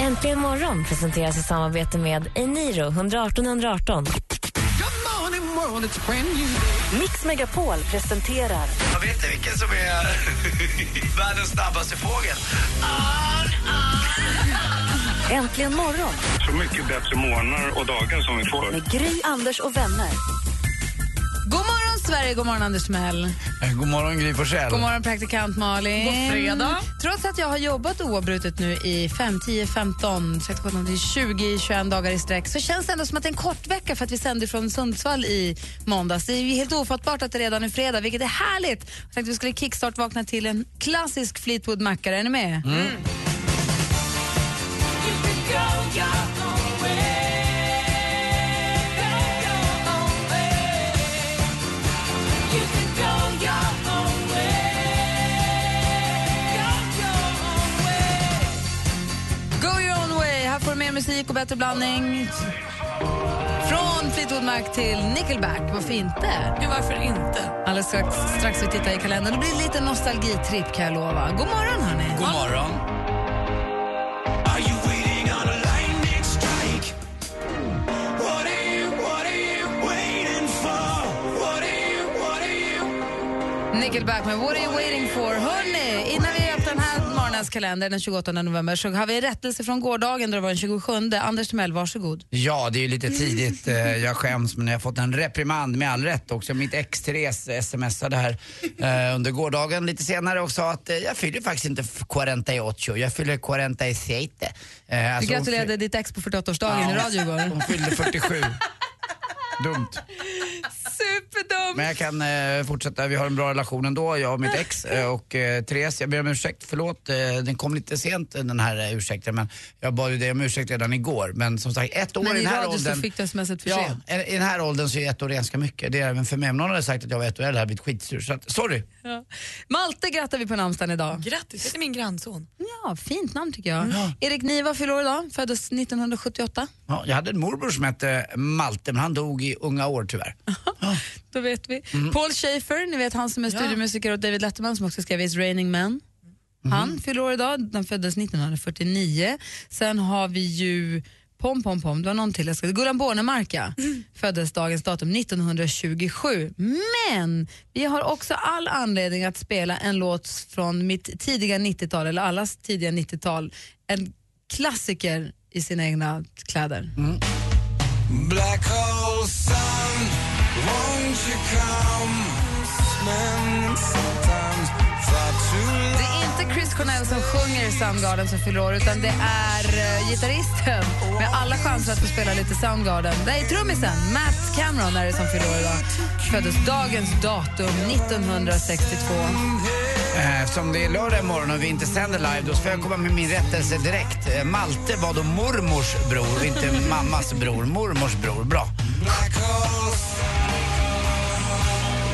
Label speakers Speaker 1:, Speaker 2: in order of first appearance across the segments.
Speaker 1: Äntligen morgon presenteras i samarbete med Eniro 118 118. Mix Megapol presenterar
Speaker 2: Jag vet inte vilken som är världens snabbaste fågel.
Speaker 1: Äntligen morgon
Speaker 3: så mycket bättre månader och dagar som vi får.
Speaker 1: med Gry, Anders och vänner.
Speaker 4: God morgon, Sverige! God morgon, Anders Timell.
Speaker 2: Eh, God morgon, Gry Forssell.
Speaker 4: God morgon, praktikant Malin. God fredag. Trots att jag har jobbat oavbrutet nu i 5, 10, 15, 16, 17, 18, 20, 21 dagar i sträck så känns det ändå som att det är en kort vecka för att vi sänder från Sundsvall i måndags. Det är ju helt ofattbart att det redan är fredag, vilket är härligt. Jag tänkte vi skulle kickstart-vakna till en klassisk Fleetwood-mackare. Är ni med?
Speaker 2: Mm.
Speaker 4: Go your own way. Här får du mer musik och bättre blandning. Från Fleetwood Mac till Nickelback. Varför inte? Ja, varför inte? Alldeles strax, strax vi tittar i kalendern. Det blir lite nostalgitripp kan jag lova. God morgon hörni.
Speaker 2: God morgon. Are you waiting on a lightning strike? What are you, what are you waiting for? What are you, what are you...
Speaker 4: Nickelback med What are you waiting for? Hörni, innan vi öppnar den här morgonens kalender den 28 november så har vi rättelse från gårdagen då det var den 27. Anders Timell, varsågod.
Speaker 5: Ja, det är ju lite tidigt. Eh, Jag skäms, men jag har fått en reprimand med all rätt också. Mitt ex Therese smsade här eh, under gårdagen lite senare och sa att eh, jag fyller faktiskt inte f- 48, jag fyller 47. Eh,
Speaker 4: Du
Speaker 5: alltså, hon
Speaker 4: gratulerade ditt ex på 48-årsdagen i radio
Speaker 5: fyll-
Speaker 4: igår.
Speaker 5: Hon fyllde 47. Dumt.
Speaker 4: Superdumt!
Speaker 5: Men jag kan eh, fortsätta, vi har en bra relation ändå, jag och mitt ex. Eh, och eh, Therese, jag ber om ursäkt, förlåt, eh, den kom lite sent eh, den här eh, ursäkten. Men jag bad ju dig om ursäkt redan igår. Men som sagt, ett år
Speaker 4: Men
Speaker 5: i
Speaker 4: i
Speaker 5: den här
Speaker 4: radio så
Speaker 5: åldern.
Speaker 4: fick du smset för
Speaker 5: ja,
Speaker 4: sent.
Speaker 5: i- i den här åldern så är ett år ganska mycket. Det är även för mig. Om någon hade sagt att jag var ett år äldre hade jag blivit skitsur. Så att, sorry.
Speaker 4: Ja. Malte grattar vi på namnsdagen idag.
Speaker 6: Grattis, det är min grannson.
Speaker 4: Ja, fint namn tycker jag. Erik Niva fyller år idag, föddes 1978.
Speaker 5: Ja, jag hade en morbror som hette eh, Malte, men han dog i unga år tyvärr.
Speaker 4: Då vet vi. Paul Schaefer, ni vet han som är studiomusiker åt David Letterman som också skrev It's Raining Men. Han fyller år idag, den föddes 1949. Sen har vi ju Pom Pom Pom, det var någon till jag skulle... Gullan Bornemark ja. föddes dagens datum 1927. Men vi har också all anledning att spela en låt från mitt tidiga 90-tal, eller allas tidiga 90-tal. En klassiker i sina egna kläder.
Speaker 2: Black hole sun, won't you come? Men sometimes far too long.
Speaker 4: Det är inte Chris Cornell som sjunger Soundgarden som fyller år utan det är eh, gitarristen med alla chanser att få spela lite Soundgarden. Det är trummisen Matt Cameron är det som fyller år idag. Föddes dagens datum 1962.
Speaker 5: Eh, Eftersom det är lördag imorgon och vi inte sänder live, då ska jag komma med min rättelse direkt. Eh, Malte var då mormors bror och inte mammas bror. Mormors bror, bra.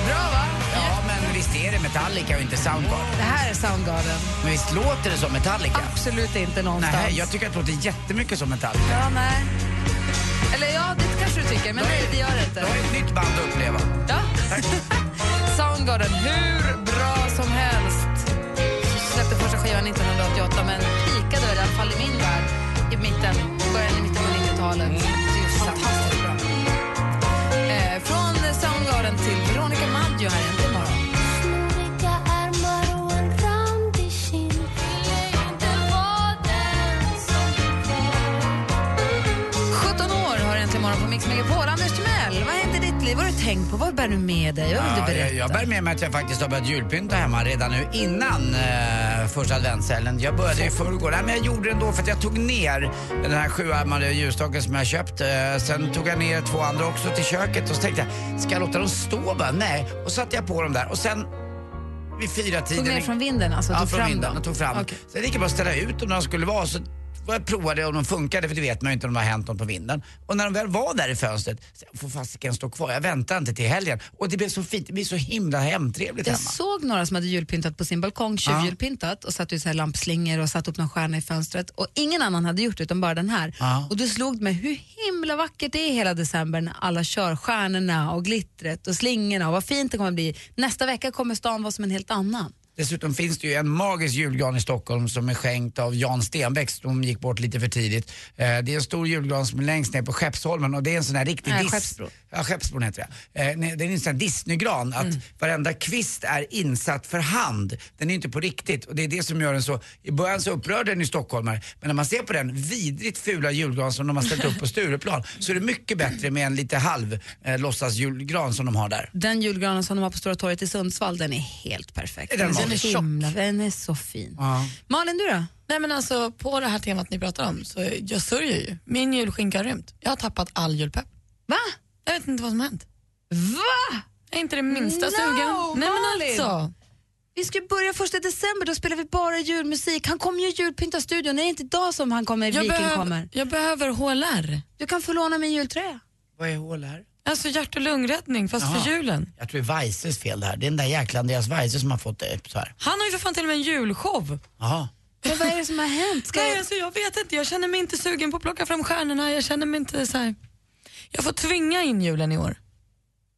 Speaker 4: Bra va?
Speaker 5: Ja, men visst är det Metallica och inte Soundgarden?
Speaker 4: Det här är Soundgarden.
Speaker 5: Men visst låter det som Metallica?
Speaker 4: Absolut inte någonstans.
Speaker 5: Nej, jag tycker att det låter jättemycket som Metallica.
Speaker 4: Ja, nej. Eller ja, det kanske du tycker, men nej det gör det
Speaker 5: Det
Speaker 4: inte.
Speaker 5: har ett nytt band att uppleva.
Speaker 4: Ja. Soundgarden, hur bra som helst. Släppte första skivan 1988 men peakade väl i alla fall i min värld i mitten, början i mitten på 90-talet.
Speaker 5: Mm.
Speaker 4: Det är ju fantastiskt bra. Eh, från Soundgarden till Veronica Maggio här egentligen imorgon.
Speaker 7: Hej
Speaker 4: 17 år har Äntligen morgon på Mix Megapol. Anders Timell, vad händer i ditt liv? Vad har du tänkt på? Vad bär du med dig? Vad vill
Speaker 5: Ja,
Speaker 4: du
Speaker 5: jag,
Speaker 4: berätta?
Speaker 5: jag bär med mig att jag faktiskt har börjat julpynta hemma redan nu innan eh, första adventshelgen. Jag började i förrgår. Nej, men jag gjorde det ändå för att jag tog ner den här sjuarmade ljusstaken som jag köpt. Eh, sen tog jag ner två andra också till köket och så tänkte jag, ska jag låta dem stå bara? Nej. Och så satte jag på dem där och sen vid fyra tiden
Speaker 4: Tog ner från vinden, alltså
Speaker 5: Ja,
Speaker 4: tog
Speaker 5: från
Speaker 4: fram
Speaker 5: vinden.
Speaker 4: dem?
Speaker 5: Jag tog fram.
Speaker 4: Okej.
Speaker 5: Så det är lika bra att ställa ut om de skulle vara. Så jag provade om de funkade, för det vet man ju inte om det har hänt något på vinden. Och när de väl var där i fönstret, så jag får fasiken stå kvar, jag väntar inte till helgen. Och det blev så fint, det blir så himla hemtrevligt
Speaker 4: Jag
Speaker 5: hemma.
Speaker 4: såg några som hade julpyntat på sin balkong, tjuvjulpyntat och satt ut så här lampslingor och satt upp någon stjärna i fönstret och ingen annan hade gjort det utan bara den här.
Speaker 5: Ja.
Speaker 4: Och då slog det mig hur himla vackert det är hela december när alla kör stjärnorna och glittret och slingorna och vad fint det kommer bli. Nästa vecka kommer stan vara som en helt annan.
Speaker 5: Dessutom finns det ju en magisk julgran i Stockholm som är skänkt av Jan Stenbeck som gick bort lite för tidigt. Eh, det är en stor julgran som är längst ner på Skeppsholmen och det är en sån här riktig
Speaker 4: Nej,
Speaker 5: diss.
Speaker 4: Skeppsbron.
Speaker 5: Ja, Skeppsbron heter det. Eh, nej, det är en sån här Disneygran att varenda kvist är insatt för hand. Den är inte på riktigt och det är det som gör den så, i början så upprörde den i stockholmare men när man ser på den vidrigt fula julgran som de har ställt upp på Stureplan så är det mycket bättre med en lite halv eh, låtsasjulgran som de har där.
Speaker 4: Den julgranen som de har på Stora torget i Sundsvall, den är helt perfekt.
Speaker 5: Är den
Speaker 4: så
Speaker 5: magisk?
Speaker 4: himla, den är så fin.
Speaker 5: Ja.
Speaker 4: Malin, du då?
Speaker 6: Nej men alltså på det här temat ni pratar om så jag sörjer ju. Min julskinka har rymt. Jag har tappat all julpepp.
Speaker 4: Va?
Speaker 6: Jag vet inte vad som hänt.
Speaker 4: Va?
Speaker 6: Jag är inte det minsta
Speaker 4: No,
Speaker 6: sugen. Nej men
Speaker 4: Malin!
Speaker 6: alltså.
Speaker 4: Vi ska ju börja första december, då spelar vi bara julmusik. Han kommer ju julpynta studion, det är inte idag som han kommer,
Speaker 6: Jag,
Speaker 4: Viking
Speaker 6: behöv-
Speaker 4: kommer.
Speaker 6: jag behöver HLR.
Speaker 4: Du kan få låna min jultröja.
Speaker 5: Vad är hål här?
Speaker 6: Alltså hjärt och lungräddning fast
Speaker 5: Jaha.
Speaker 6: för julen.
Speaker 5: Jag tror det är Weises fel det här. Det är den där jäkla Andreas Weise som har fått det upp så här.
Speaker 6: Han har ju för fan till och med en julshow.
Speaker 5: Jaha.
Speaker 4: Men vad är det som har hänt? Ska
Speaker 6: Nej
Speaker 4: jag...
Speaker 6: alltså jag vet inte, jag känner mig inte sugen på att plocka fram stjärnorna. Jag känner mig inte så här. Jag får tvinga in julen i år.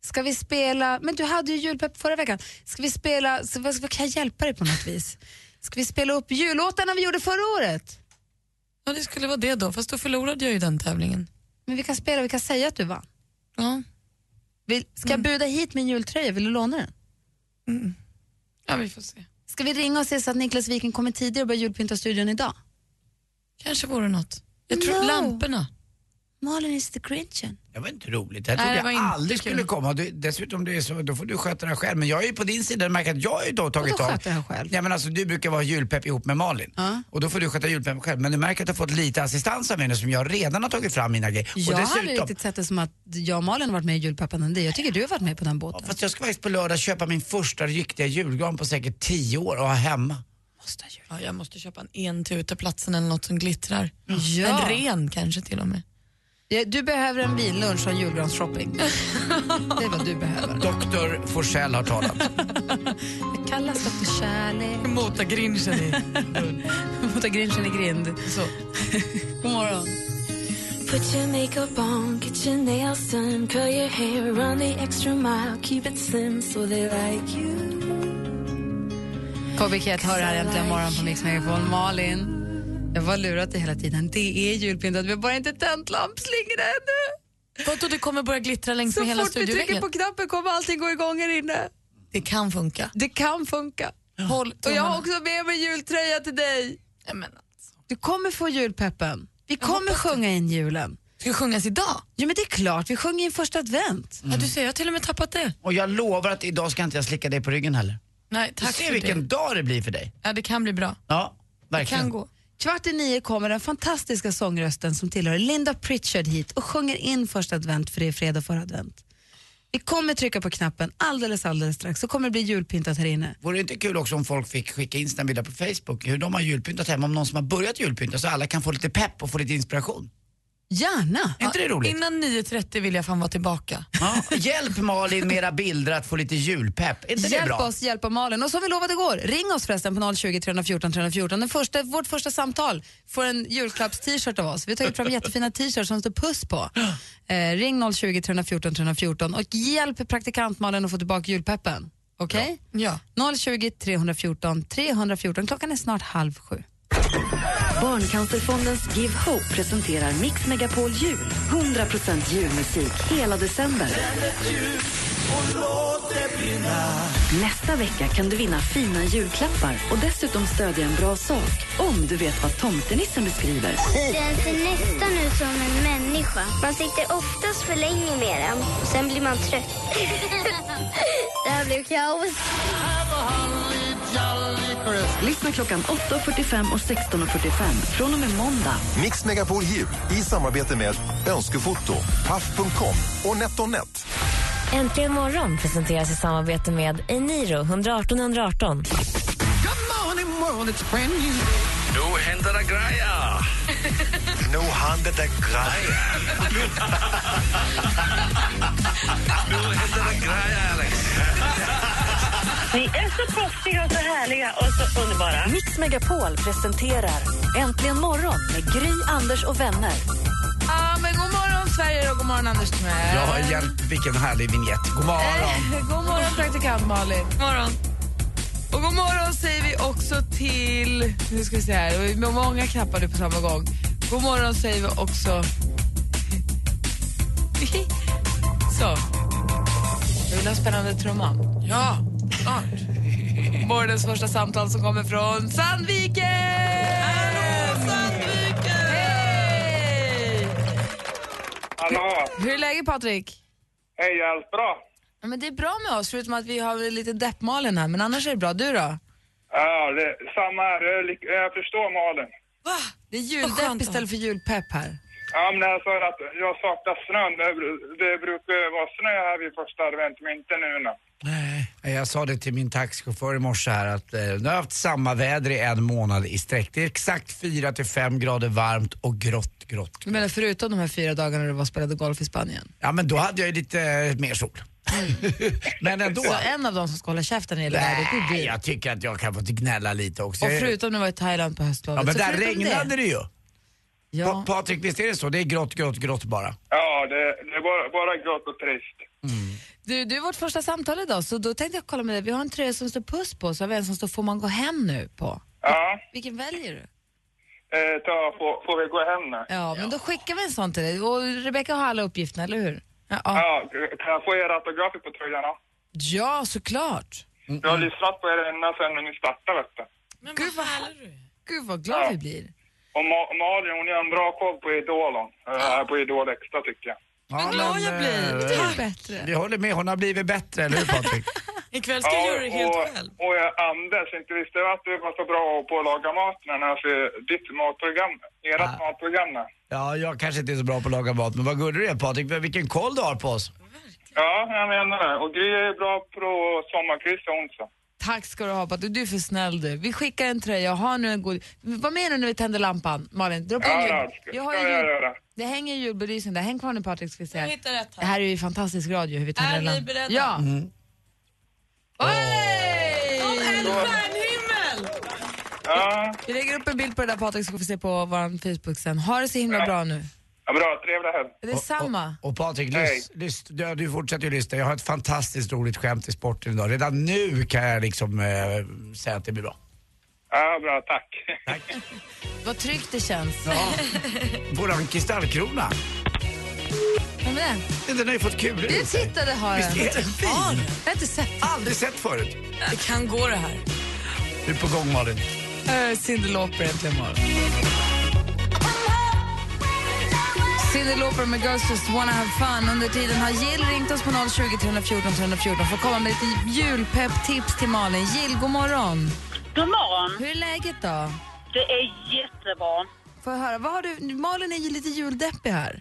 Speaker 4: Ska vi spela, men du hade ju julpepp förra veckan. Ska vi spela, så vad, vad kan jag hjälpa dig på något vis? Ska vi spela upp jullåtarna vi gjorde förra året?
Speaker 6: Ja det skulle vara det då, fast då förlorade jag ju den tävlingen.
Speaker 4: Men vi kan spela, vi kan säga att du vann.
Speaker 6: Ja,
Speaker 4: Vill, ska
Speaker 5: Mm.
Speaker 4: jag buda hit min jultröja, vill du låna den?
Speaker 6: ja vi får se.
Speaker 4: Ska vi ringa och se så att Niklas Wiking kommer tidigare och börjar julpynta studion idag?
Speaker 6: Kanske vore något. Jag tror
Speaker 4: No.
Speaker 6: lamporna.
Speaker 4: Malin is the grinchen.
Speaker 5: Det var inte roligt. Jag
Speaker 6: Nej,
Speaker 5: trodde
Speaker 6: det var
Speaker 5: jag
Speaker 6: inte
Speaker 5: aldrig
Speaker 6: kul.
Speaker 5: skulle komma. Du, dessutom, det är så, då får du sköta det här själv. Men jag är ju på din sida. Jag märker att jag har ju då tagit
Speaker 4: Vadå
Speaker 5: av.
Speaker 4: sköta det här själv?
Speaker 5: Ja, men alltså, du brukar vara julpepp ihop med Malin.
Speaker 4: Ja.
Speaker 5: Och då får du sköta julpepp själv. Men du märker att du har fått lite assistans av mig nu som jag redan har tagit fram mina grejer.
Speaker 4: Jag
Speaker 5: och
Speaker 4: har aldrig
Speaker 5: dessutom,
Speaker 4: riktigt sett det som att jag och Malin har varit med i julpeppanden. Det- Jag tycker du har varit med på den båten.
Speaker 5: fast jag ska faktiskt på lördag köpa min första riktiga julgran på säkert tio år och ha hemma.
Speaker 6: Ja, jag måste köpa en entuteplatsen eller något som glittrar.
Speaker 4: Ja.
Speaker 6: En ren kanske till och med.
Speaker 4: Ja, Du behöver en vinlunch och en julgransshopping. Det är vad du behöver.
Speaker 5: Doktor Forsell har talat.
Speaker 4: Det kallas dock för kärlek.
Speaker 6: Mota grinchen i.
Speaker 4: Mota grinchen i grind. Så. God morgon.
Speaker 7: Put your makeup on, get your nails done, curl your hair, run the extra mile, keep it slim so they like you.
Speaker 4: KBK hör här äntligen morgon på Mix Megapol. Malin, jag var lurat dig hela tiden. Det är julpyntat, vi har bara inte tänt lampslingorna ännu.
Speaker 6: Vadå, det kommer börja glittra längs med
Speaker 4: Så
Speaker 6: hela
Speaker 4: fort vi trycker
Speaker 6: studioväggen?
Speaker 4: på knappen kommer allting gå igång här inne.
Speaker 6: Det kan funka.
Speaker 4: Det kan funka.
Speaker 6: Håll
Speaker 4: Och jag har
Speaker 6: tummarna.
Speaker 4: också med mig jultröja till dig.
Speaker 6: Nej, men alltså.
Speaker 4: Du kommer få julpeppen. Vi kommer sjunga in julen.
Speaker 6: Ska det sjungas idag?
Speaker 4: Jo men det är klart, vi sjunger in första advent.
Speaker 6: Ja, du ser, jag har till och med tappat det.
Speaker 5: Och jag lovar att idag ska inte jag slicka dig på ryggen heller.
Speaker 6: Nej,
Speaker 5: Du
Speaker 6: tack
Speaker 5: ser
Speaker 6: för
Speaker 5: vilken
Speaker 6: det.
Speaker 5: dag det blir för dig.
Speaker 6: Ja, det kan bli bra.
Speaker 5: Ja,
Speaker 6: Det
Speaker 5: verkligen.
Speaker 6: kan gå.
Speaker 4: Kvart i nio kommer den fantastiska sångrösten som tillhör Linda Pritchard hit och sjunger in första advent för det är fredag för advent. Vi kommer trycka på knappen alldeles alldeles strax så kommer det bli julpyntat här inne.
Speaker 5: Vore det inte kul också om folk fick skicka in sina bilder på Facebook, hur de har julpyntat hemma, om någon som har börjat julpynta så alla kan få lite pepp och få lite inspiration.
Speaker 4: Gärna!
Speaker 5: Är inte det roligt?
Speaker 6: Innan 9.30 vill jag fan vara tillbaka.
Speaker 5: Ja. Hjälp Malin med era bilder att få lite julpepp. Är inte det
Speaker 4: Hjälp
Speaker 5: bra?
Speaker 4: oss, hjälpa Malin. Och som vi lovade igår, ring oss förresten på 020 314 314. Den första, vårt första samtal får en julklapps-t-shirt av oss. Vi har tagit fram jättefina t-shirts som står puss på. Eh, ring 020 314 314 och hjälp praktikant Malin att få tillbaka julpeppen. Okej?
Speaker 6: Ja.
Speaker 4: 020 314 314. Klockan är snart halv sju.
Speaker 8: Barncancerfondens Give Hope presenterar Mix Megapol Jul. 100% julmusik hela december. Nästa vecka kan du vinna fina julklappar och dessutom stödja en bra sak om du vet vad tomtenissen beskriver.
Speaker 7: Den ser nästan ut som en människa. Man sitter oftast för länge med den och sen blir man trött. det här blev kaos.
Speaker 8: Lyssna klockan 8.45 och 16.45 från och med måndag.
Speaker 2: Mix Megapol Jul i samarbete med Önskefoto, Paff.com och NetOnNet.
Speaker 1: Äntligen morgon presenteras i samarbete med Eniro 118 118.
Speaker 5: Nu händer det grejer!
Speaker 2: Nu händer det grejer. Nu händer det grejer, Alex.
Speaker 9: Ni är så proffsiga och så härliga och så underbara.
Speaker 8: Mix Megapol presenterar Äntligen morgon med Gry, Anders och vänner.
Speaker 4: Ah, men god morgon Sverige och god morgon Anders Timell.
Speaker 5: Jag har hjälpt, vilken härlig vignett. God morgon.
Speaker 4: Eh, God morgon praktikant Malin. Morgon. Och god morgon säger vi också till... Nu ska vi se här, det var många knappar nu på samma gång. God morgon säger vi också... Så. Jag vill ha spännande trumman. Ja, snart. Morgonens första samtal som kommer från Sandviken! Hallå Sandviken! Hej!
Speaker 3: Hallå!
Speaker 4: Hur är läget Patrik?
Speaker 3: Hej, allt bra?
Speaker 4: Ja, men det är bra med oss, förutom att vi har lite deppmalen här. Men annars är det bra. Du då?
Speaker 3: Ja, det, samma här. Jag, lik- jag förstår Malin.
Speaker 4: Det är juldepp istället för julpepp här.
Speaker 3: Ja, men alltså att jag saknar snön. Det, bru- det brukar ju vara snö här vid första advent, men inte nu. nu.
Speaker 5: Jag sa det till min taxichaufför i morse här att eh, nu har jag haft samma väder i en månad i sträck. Det är exakt 4 till 5 grader varmt och grått, grått.
Speaker 4: Du menar förutom de här fyra dagarna du var och spelade golf i Spanien?
Speaker 5: Ja, men då hade jag ju lite eh, mer sol. men ändå.
Speaker 4: Så en av dem som ska hålla käften när det gäller vädret, det är
Speaker 5: Nej, jag tycker att jag kan få gnälla lite också.
Speaker 4: Och
Speaker 5: Jag-
Speaker 4: förutom när du var i Thailand på höstlovet.
Speaker 5: Ja, men
Speaker 4: Så
Speaker 5: där
Speaker 4: förutom
Speaker 5: regnade det, ju. Pa- Patrik, visst är det så? Det är grått, grått, grått bara.
Speaker 3: Ja, det, det är bara, bara grått och trist.
Speaker 4: Du, du är vårt första samtal idag, så då tänkte jag kolla med dig. Vi har en tröja som står puss på, så har vi en som står får man gå hem nu på.
Speaker 3: Ja.
Speaker 4: Vilken väljer du?
Speaker 3: Eh, ta, får, får vi gå hem nu?
Speaker 4: Ja, men då skickar vi en sån till dig. Och Rebecca har alla uppgifterna, eller hur? Ja, ja.
Speaker 3: Ja, kan jag få era autografer på tröjan? ja?
Speaker 4: ja såklart.
Speaker 3: Jag har lyssnat på er ända sedan ni startade, vet du.
Speaker 4: Gud vad, Gud vad glad vi blir.
Speaker 3: Och Ma- Malin, hon gör en bra koll på Idol, hon. Eh, på Idol Extra, tycker jag.
Speaker 5: Ja,
Speaker 3: glad jag
Speaker 5: men,
Speaker 3: blir.
Speaker 5: eh,
Speaker 3: Det är
Speaker 4: bättre.
Speaker 5: Vi håller med, hon har blivit bättre, eller hur Patrik?
Speaker 6: Ikväll ska jag göra det helt själv.
Speaker 3: Och, och eh, Anders, inte visste jag att du var så bra på att laga mat när jag ser ditt matprogram, ert matprogram. nu.
Speaker 5: Ja, jag kanske inte är så bra på att laga mat, men vad gullig du är Patrik. Vilken koll du har på oss.
Speaker 3: Ja, jag menar det. Och Gry är bra på sommarkryss, och hon så.
Speaker 4: Tack ska du ha Patrik, du är för snäll du. Vi skickar en tröja och har nu en god... Vad menar du när vi tänder lampan? Malin, dra på
Speaker 3: Ja,
Speaker 4: en
Speaker 3: ja,
Speaker 4: jul.
Speaker 3: det ska-
Speaker 4: Vi har ju
Speaker 3: ska jag göra.
Speaker 4: Det hänger en julbelysning där. Häng kvar nu Patrik ska vi se.
Speaker 6: hittar rätt här.
Speaker 4: Det här är ju fantastisk radio hur vi tänder
Speaker 6: Är
Speaker 4: en
Speaker 6: ni
Speaker 4: lampa.
Speaker 6: beredda?
Speaker 4: Ja.
Speaker 3: Mm.
Speaker 6: Som en stjärnhimmel!
Speaker 3: Ja,
Speaker 4: Vi lägger upp en bild på det där Patrik så får vi se på vår Facebook sen. Ha det så himla bra nu.
Speaker 3: ja bra. Trevlig helg.
Speaker 4: Detsamma.
Speaker 5: Och Patrik,
Speaker 3: Hej.
Speaker 5: lys, lys, du, du fortsätter ju lyssna. Jag har ett fantastiskt roligt skämt i sporten idag. Redan nu kan jag liksom eh, säga att det blir bra.
Speaker 3: Ja, bra. Tack.
Speaker 4: Vad tryggt det känns.
Speaker 5: Ja. Våran kristallkrona.
Speaker 4: Vem är den?
Speaker 5: Den har ju fått kulor i
Speaker 4: Du
Speaker 5: sig.
Speaker 4: tittade har
Speaker 5: Visst är den fin?
Speaker 4: Jag har inte sett.
Speaker 5: Aldrig sett förut.
Speaker 6: Det kan gå det här.
Speaker 5: Du är på gång Malin.
Speaker 4: Uh, Cyndi Lauper äntligen morgon. Cyndi Lauper med Girls Just Wanna Have Fun. Under tiden har Jill ringt oss på 020 314 314 för att komma med lite julpepptips till Malin. Jill, god morgon.
Speaker 9: God morgon.
Speaker 4: Hur är läget då?
Speaker 9: Det är jättebra.
Speaker 4: Får jag höra, vad har du? Malin är ju lite juldeppig här.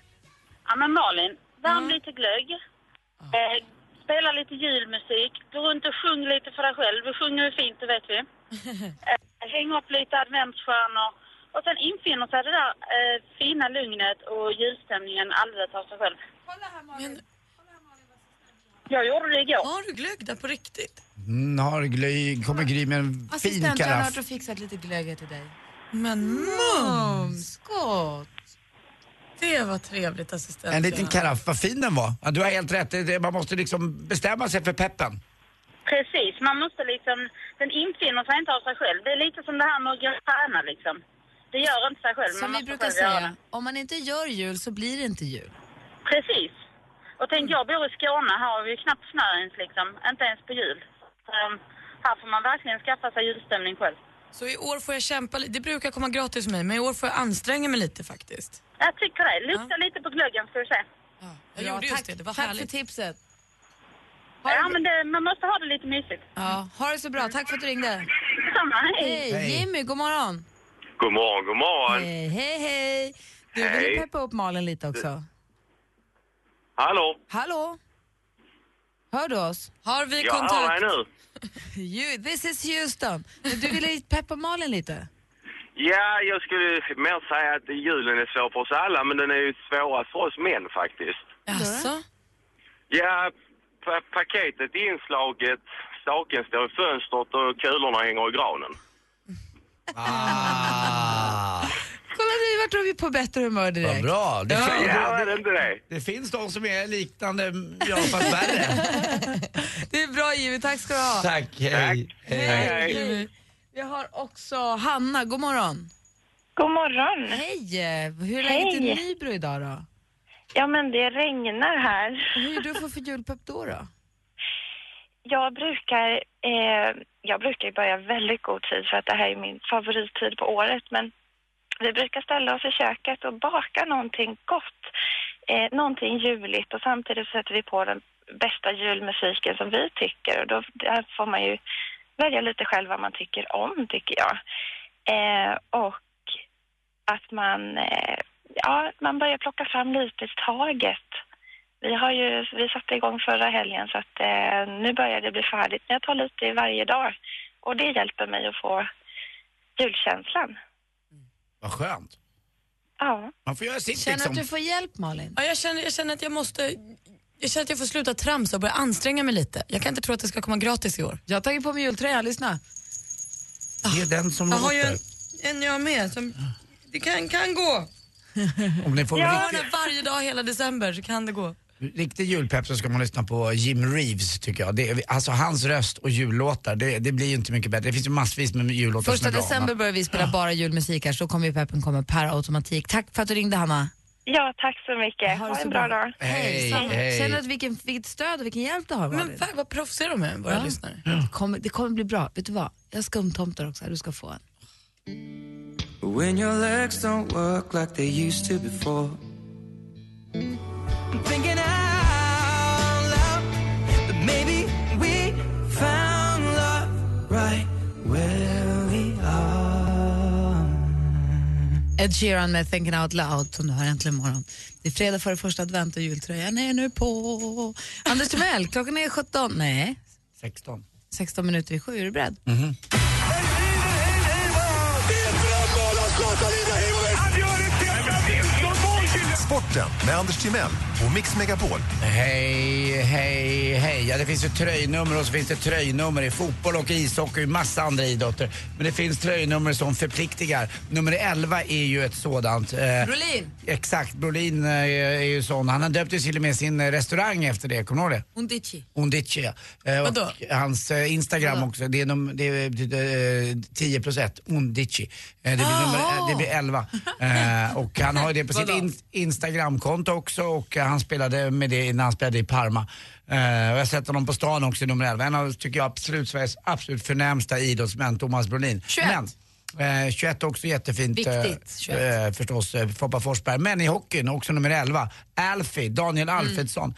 Speaker 9: Ja, men Malin, värm
Speaker 4: Mm.
Speaker 9: lite glögg. Eh, spela lite julmusik. Gå runt och sjung lite för dig själv. Du sjunger ju fint, det vet vi. Eh, häng upp lite adventsstjärnor. Och sen infinner sig det där eh, fina lugnet och julstämningen alldeles av sig själv. Jag gjorde det igår.
Speaker 6: Har du glögg där på riktigt?
Speaker 5: Mm, har glöj, kommer Gry med en fin
Speaker 4: Assistent, jag har
Speaker 5: karaff.
Speaker 4: varit och fixat lite glögg till dig.
Speaker 6: Men mums!
Speaker 4: Gott!
Speaker 6: Det var trevligt assistent.
Speaker 5: En liten
Speaker 6: Johanna.
Speaker 5: karaff, vad fin den var. Ja, du har helt rätt, Det- det- man måste liksom bestämma sig för peppen.
Speaker 9: Precis, man måste liksom... Den infinner sig inte av sig själv. Det är lite som det här med att gå och träna liksom. Det gör inte sig själv. man
Speaker 4: Som vi
Speaker 9: måste
Speaker 4: brukar
Speaker 9: själv göra det.
Speaker 4: säga, om man inte gör jul så blir det inte jul.
Speaker 9: Precis. Och
Speaker 10: Mm.
Speaker 9: tänk, jag bor i Skåne. Här har vi ju knappt snö ens liksom. Inte ens på jul. Så, um, här får man verkligen skaffa sig julstämning själv.
Speaker 6: Så i år får jag kämpa lite. Det brukar komma gratis för mig, men i år får jag anstränga mig lite faktiskt.
Speaker 9: Jag tycker det. Lukta lite på glöggen ska du se.
Speaker 6: Jag
Speaker 4: Bra,
Speaker 6: gjorde just
Speaker 4: tack,
Speaker 6: det, det var
Speaker 4: tack
Speaker 6: härligt.
Speaker 4: för tipset.
Speaker 9: Ja, men det, man måste ha det lite mysigt.
Speaker 4: Ja, ha det så bra. Tack för att du ringde.
Speaker 9: Samma, hej!
Speaker 4: Hej, Jimmy, god morgon.
Speaker 11: God morgon, god morgon.
Speaker 4: Hej, hej, hej. Du vill
Speaker 11: Hej.
Speaker 4: ju peppa upp Malin lite också.
Speaker 11: Hallå?
Speaker 4: Hallå? Hör du oss?
Speaker 6: Har vi
Speaker 11: Jag hör dig nu.
Speaker 4: You, this is Houston. Du ville ju peppa Malin lite.
Speaker 11: Ja, jag skulle mer säga att julen är svår för oss alla, men den är ju svårast för oss män faktiskt.
Speaker 6: Alltså?
Speaker 11: Ja, pa- paketet i inslaget, staken står i fönstret och kulorna hänger i granen.
Speaker 4: Kolla nu, vart drog vi på bättre humör direkt.
Speaker 5: Ah, Vad bra. Det,
Speaker 11: Ja,
Speaker 5: fin-
Speaker 11: ja, det, det,
Speaker 5: det finns de som är liknande, ja fast värre.
Speaker 4: Det är bra Jimmy, tack ska du ha.
Speaker 5: Tack, hej.
Speaker 4: Jimmy. Vi har också Hanna, god morgon.
Speaker 12: God morgon.
Speaker 4: Hej! Hur är läget i
Speaker 12: Hej.
Speaker 4: Nybro idag då?
Speaker 12: Ja, men det regnar här.
Speaker 4: Hur är du för, för julpepp då? då?
Speaker 12: Jag brukar, eh, jag brukar ju börja väldigt god tid för att det här är min favorittid på året. Men vi brukar ställa oss i köket och baka någonting gott, eh, någonting juligt och samtidigt sätter vi på den bästa julmusiken som vi tycker och då där får man ju välja lite själv vad man tycker om tycker jag. Eh, och att man, eh, ja, man börjar plocka fram lite i taget. Vi, har ju, vi satte igång förra helgen så att eh, nu börjar det bli färdigt. Men jag tar lite i varje dag och det hjälper mig att få julkänslan.
Speaker 5: Vad skönt.
Speaker 12: Ja.
Speaker 5: Man får göra sitt
Speaker 6: Känner
Speaker 5: liksom.
Speaker 6: att du
Speaker 4: får hjälp Malin?
Speaker 6: Ja, jag, känner, jag känner att jag måste jag känner att jag får sluta tramsa och börja anstränga mig lite. Jag kan inte tro att det ska komma gratis i år.
Speaker 4: Jag har tagit på mig jultröjan, lyssna.
Speaker 5: Det är den som
Speaker 6: Jag har ju
Speaker 5: låter.
Speaker 6: en jag med som... Det kan, kan gå.
Speaker 5: Om ni får
Speaker 6: jag har
Speaker 5: riktig,
Speaker 6: den varje dag hela december så kan det gå.
Speaker 5: riktig julpepp så ska man lyssna på Jim Reeves tycker jag. Det, är- alltså hans röst och jullåtar, det, det blir ju inte mycket bättre. Det finns ju massvis med jullåtar
Speaker 4: Första
Speaker 5: som är bra,
Speaker 4: december
Speaker 5: men-
Speaker 4: börjar vi spela bara julmusik här, så kommer ju peppen komma per automatik. Tack för att du ringde Hanna.
Speaker 12: Ja, tack så mycket. Eh, Ha,
Speaker 4: så
Speaker 12: en bra,
Speaker 4: bra.
Speaker 12: dag.
Speaker 5: Hej,
Speaker 4: Sam-
Speaker 5: hej.
Speaker 4: Känner du att vilken, vilket stöd och vilken hjälp du har Malin?
Speaker 6: Men vad proffsiga de är, våra lyssnare.
Speaker 4: Det kommer, det kommer bli bra. Vet du vad? Jag har skumtomtar också här, du ska få en.
Speaker 2: When your legs don't work like they used to before. I'm thinking out loud that maybe we found love right where we are.
Speaker 4: Ed Sheeran med Thinking Out Loud som du hör äntligen imorgon. Det är fredag före första advent och jultröjan är nu på. Anders Timell, klockan är 17, nej
Speaker 5: 16.
Speaker 4: 16 minuter i sju, är du beredd?
Speaker 6: Mm.
Speaker 13: Sporten med Anders Timell och Mix Megapol.
Speaker 5: Hej, hej, hej. Ja, det finns ju tröjnummer och så finns det tröjnummer i fotboll och ishockey och massa andra idrotter. Men det finns tröjnummer som förpliktigar. Nummer 11 är ju ett sådant. eh,
Speaker 4: Brolin.
Speaker 5: Exakt, Brolin eh, är ju sån. Han har döpt ju till och med sin eh, restaurang efter det, kommer du ihåg det?
Speaker 4: Undici.
Speaker 5: Undici, ja. Eh,
Speaker 4: Vadå?
Speaker 5: Och hans eh, Instagram också, det är, num- det är eh, 10 plus 1, Undici. Eh, det, blir
Speaker 2: Ah.
Speaker 5: nummer, eh, det blir 11. Eh, och han har ju det på sitt
Speaker 2: Vadå?
Speaker 5: in- Instagramkonto också och eh, han spelade med det när han spelade i Parma. Eh, och jag har sett honom på stan också, nummer 11. En av, tycker jag, absolut Sveriges absolut förnämsta idrottsmän, Thomas Brolin.
Speaker 2: 21.
Speaker 5: Men, eh, 21 också jättefint. eh,
Speaker 2: Viktigt, 21.
Speaker 5: eh, eh, förstås eh, Foppa Forsberg. Men i hockeyn också nummer 11, Alfie, Daniel Alfredsson.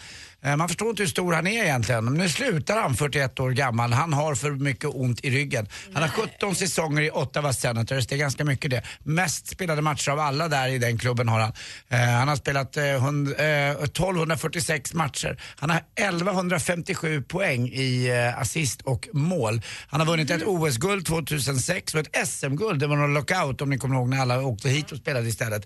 Speaker 5: Eh, Man förstår inte hur stor han är egentligen. Men nu slutar han 41 år gammal. Han har för mycket ont i ryggen. Han har 17 säsonger i Ottawa Senators, det är ganska mycket det. Mest spelade matcher av alla där i den klubben har han. Eh, Han har spelat eh, hund- eh, 1246 matcher. Han har 1157 poäng i eh, assist och mål. Han har vunnit
Speaker 4: Mm.
Speaker 5: ett OS-guld 2006 och ett SM-guld. Det var någon lockout om ni kommer ihåg när alla åkte hit och spelade istället.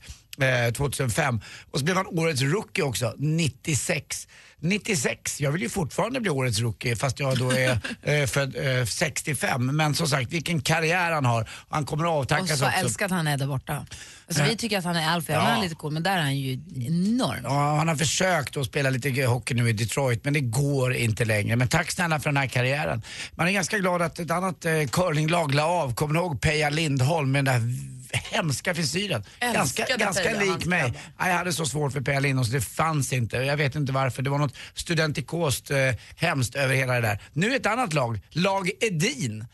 Speaker 5: Eh, 2005. Och så blev han årets rookie också, 96. 96, jag vill ju fortfarande bli årets rookie fast jag då är eh, född eh, 65. Men som sagt, vilken karriär han har. Han kommer att
Speaker 4: Och
Speaker 5: avtackas
Speaker 4: så
Speaker 5: också.
Speaker 4: älskad han är där borta. Alltså,
Speaker 5: Ja.
Speaker 4: vi tycker att han är Alfie,
Speaker 5: Ja.
Speaker 4: han är lite cool, men där är han ju enorm.
Speaker 5: Ja, han har försökt att spela lite hockey nu i Detroit, men det går inte längre. Men tack snälla för den här karriären. Man är ganska glad att ett annat eh, curlinglag la av. Kommer ni ihåg Peja Lindholm med den där v- hemska frisyren?
Speaker 2: Älskade
Speaker 5: Ganska,
Speaker 2: Peja,
Speaker 5: ganska
Speaker 2: han
Speaker 5: lik mig. Nej, jag hade så svårt för Peja Lindholm så det fanns inte. Jag vet inte varför. Det var något studentikost eh, hemskt över hela det där. Nu ett annat lag, lag Edin.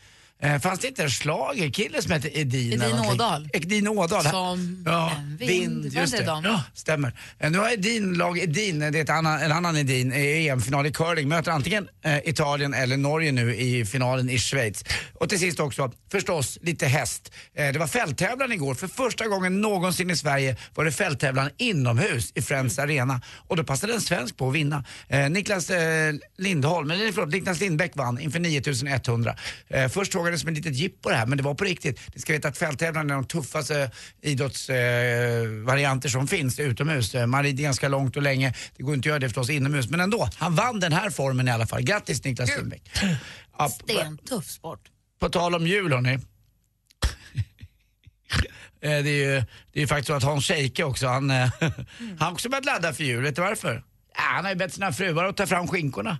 Speaker 5: Eh, fanns det inte en schlagerkille som hette Edin? eller
Speaker 4: Edin
Speaker 5: någonting?
Speaker 4: Ådahl.
Speaker 5: Edin Ådahl.
Speaker 4: Som
Speaker 5: ja,
Speaker 4: en vind.
Speaker 5: vind.
Speaker 4: Var
Speaker 5: Just
Speaker 4: det
Speaker 5: det.
Speaker 4: dem?
Speaker 5: Ja, stämmer. Eh, Nu har Edin, lag Edin, eh, det är ett annan, en annan Edin, eh, i EM-final i curling. Möter antingen eh, Italien eller Norge nu i finalen i Schweiz. Och till sist också, förstås, lite häst. Eh, det var fälttävlan igår. För första gången någonsin i Sverige var det fälttävlan inomhus i Friends
Speaker 4: Mm.
Speaker 5: Arena. Och då passade en svensk på att vinna. Eh, Niklas eh, Lindholm, eller förlåt, Niklas Lindbäck vann inför 9100. Eh, först såg jag arrangerades som ett litet jippo det här, men det var på riktigt. Ni ska veta att fälttävlan är de tuffaste idrottsvarianter som finns utomhus. Eh, Man rider ganska långt och länge. Det går inte att göra det förstås inomhus, men ändå. Han vann den här formen i alla fall. Grattis Niklas Lindbäck. Ja,
Speaker 4: Stentuff sport.
Speaker 5: på tal om jul hörni. Eh, Det är ju det är ju faktiskt så att Hans Scheike också, han eh, han har också börjat ladda för jul. Vet du varför? Ja, han har ju bett sina fruar att ta fram skinkorna.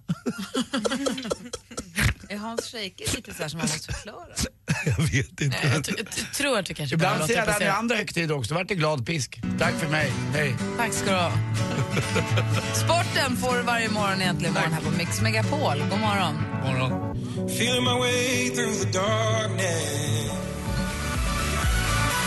Speaker 4: Är Hans Scheike lite så här som man måste förklara?
Speaker 5: Jag vet inte.
Speaker 4: Jag, t- jag t- tror att du kanske bara
Speaker 5: Ibland
Speaker 4: låter
Speaker 5: ser jag det här i
Speaker 4: passera.
Speaker 5: andra högtider också. Vart det glad pisk. Tack för mig. Hej.
Speaker 4: Tack ska du ha. Sporten får du varje morgon egentligen morgon här på Mix Megapol. God morgon.
Speaker 5: Morgon.
Speaker 2: Feeling my way through the darkness.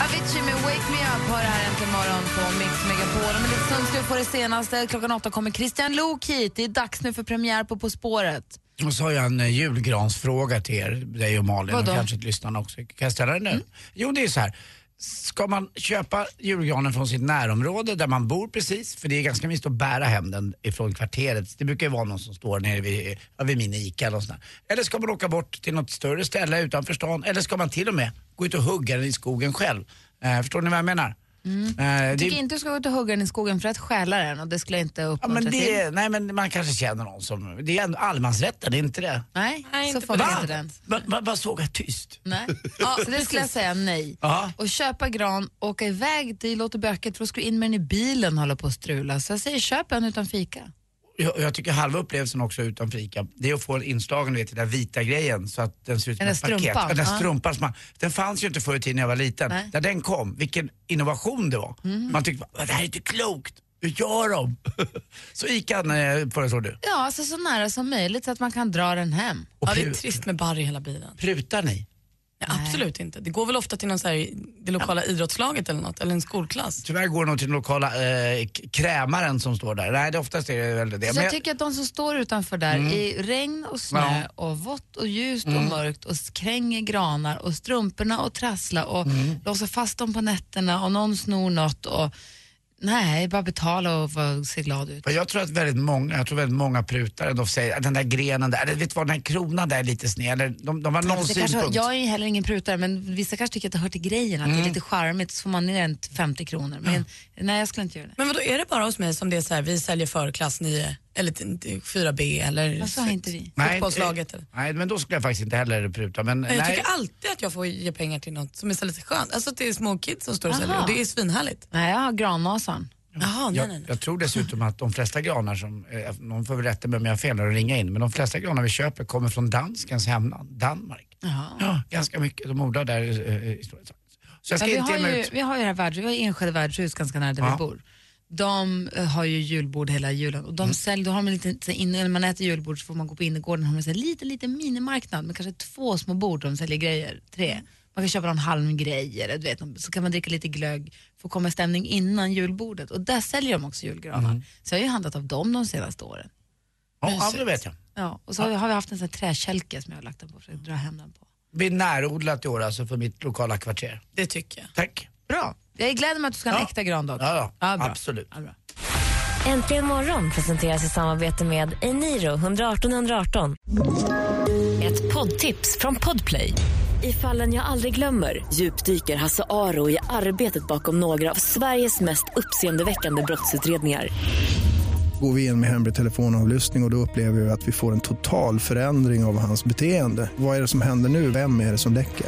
Speaker 4: Avicii med Wake Me Up har det här äntligen morgon på Mix Megapol. Om en liten stund ska vi få det senaste. Klockan åtta kommer Christian Lok hit. Det är dags nu för premiär på På spåret.
Speaker 5: Och så har jag en eh, julgransfråga till er, dig och Malin
Speaker 4: Vadå? Mm.
Speaker 5: och kanske till lyssnarna också. Kan jag ställa den nu? Jo, det är så här. Ska man köpa julgranen från sitt närområde där man bor precis? För det är ganska mysigt att bära hem den ifrån kvarteret. Det brukar ju vara någon som står nere vid, ja, vid min Ica eller något sånt där. Eller ska man åka bort till något större ställe utanför stan? Eller ska man till och med gå ut och hugga den i skogen själv? Eh, förstår ni vad jag menar? Eh, det är-
Speaker 4: Mm. Jag tycker inte du ska gå ut och hugga den i skogen för att stjäla den och det skulle jag inte
Speaker 5: Ja,
Speaker 4: uppmuntra
Speaker 5: men det,
Speaker 4: till.
Speaker 5: nej men man kanske känner någon som, det är ändå allemansrätten, är inte det?
Speaker 4: Nej, så får
Speaker 5: Va?
Speaker 4: man inte den.
Speaker 5: Va- va- Bara såg jag tyst.
Speaker 4: Nej. Ja, så det skulle jag säga nej.
Speaker 5: Ja.
Speaker 4: Och köpa gran, åka iväg, det låter bökigt för då ska du in med den i bilen och hålla på och strula. Så jag säger köp en utan fika.
Speaker 5: Jag, jag tycker halva upplevelsen också utan fika, det är att få inslagen vet, i den där vita grejen så att den ser ut som
Speaker 4: Den
Speaker 5: ett
Speaker 4: där
Speaker 5: paket.
Speaker 4: strumpan,
Speaker 5: Ja, Den
Speaker 4: ja.
Speaker 5: strumpan som man, Den fanns ju inte förr i tiden när jag var liten.
Speaker 4: Nej. Mhm.
Speaker 5: När den kom, vilken innovation det var. Man tyckte, "Va, det här är inte klokt, hur gör de? så Ica eh, föreslår du.
Speaker 4: Ja, alltså så nära som möjligt så att man kan dra den hem.
Speaker 10: Ja, det är trist med barr i hela bilen.
Speaker 5: Prutar ni?
Speaker 10: Nej, absolut inte. Det går väl ofta till någon så här, det lokala idrottslaget eller något, eller en skolklass.
Speaker 5: Tyvärr går det nog till den lokala eh, k- krämaren som står där. Nej, det oftast är det väl det.
Speaker 4: Så
Speaker 5: Men
Speaker 4: jag tycker att de som står utanför där
Speaker 5: Mm.
Speaker 4: i regn och snö och vått och ljust och
Speaker 5: Mm.
Speaker 4: mörkt och kränger granar och strumporna och trassla och
Speaker 5: Mm.
Speaker 4: låser fast dem på nätterna och någon snor något och nej, bara betala och vara- se glad ut.
Speaker 5: Men Jag tror att väldigt många, jag tror väldigt många prutar ändå säger att den där grenen där, eller vet du vad, den här kronan där är lite sned. Eller de, de har någon
Speaker 4: Det kanske,
Speaker 5: synpunkt.
Speaker 4: jag är ju heller ingen prutare men vissa kanske tycker att det hör till grejen att det är
Speaker 10: Mm.
Speaker 4: lite charmigt så får man ner en till 50 kronor. Men nej, jag skulle inte göra det.
Speaker 10: Men vadå, är det bara hos mig som det är så här, vi säljer för klass 9 eller till- till 4B eller
Speaker 4: Varför har inte vi?
Speaker 5: Nej,
Speaker 10: fotbollslaget?
Speaker 5: eh,
Speaker 10: Eller?
Speaker 5: Nej, men då skulle jag faktiskt inte heller pruta. Men,
Speaker 10: Nej, jag
Speaker 5: nej.
Speaker 10: tycker alltid att jag får ge pengar till något som är så lite skönt. Alltså det är små kids som står och
Speaker 4: Aha.
Speaker 10: säljer och det är svinhärligt.
Speaker 4: Nej, jag har grannasan.
Speaker 10: Jaha, nej,
Speaker 5: jag,
Speaker 10: nej, nej.
Speaker 5: jag tror dessutom att de flesta granar som, eh, någon får väl rätta mig om jag har fel och ringa in, men de flesta granar vi köper kommer från danskens hemland, Danmark. Ja, ganska mycket. De odlar där eh, i stora Så jag ska
Speaker 4: Ja, vi,
Speaker 5: inte
Speaker 4: har
Speaker 5: ge mig
Speaker 4: ju,
Speaker 5: ut.
Speaker 4: vi har ju det här värdshus, vi har enskilda värdshus ganska nära där
Speaker 5: Ja.
Speaker 4: vi bor. De eh, har ju julbord hela julen och de
Speaker 10: Mm.
Speaker 4: säljer, då har man lite, så här inne, när man äter julbord så får man gå på innergården och har man en liten, liten minimarknad med kanske två små bord där de säljer grejer, tre. Man kan köpa någon halmgrej eller du vet, så kan man dricka lite glögg för att komma i stämning innan julbordet och där säljer de också julgranar.
Speaker 10: Mm.
Speaker 4: Så jag har ju handlat av dem de senaste åren.
Speaker 5: Ja, ja, det vet jag.
Speaker 4: Ja, och så har vi, har vi haft en sån här träkälke som jag har lagt den på för att dra hem den på.
Speaker 5: Vi är närodlat i år alltså för mitt lokala kvarter.
Speaker 10: Det tycker jag.
Speaker 5: Tack.
Speaker 4: Bra. Jag gläder mig att du ska ha en äkta gran dock.
Speaker 5: Ja,
Speaker 4: ja. bra.
Speaker 5: absolut.
Speaker 9: Äntligen morgon presenteras i samarbete med Eniro 118 118. Ett poddtips från Podplay. I fallen jag aldrig glömmer djupdyker Hasse Aro i arbetet bakom några av Sveriges mest uppseendeväckande brottsutredningar.
Speaker 14: Går vi in med hemlig telefonavlyssning och, och då upplever vi att vi får en total förändring av hans beteende. Vad är det som händer nu? Vem är det som läcker?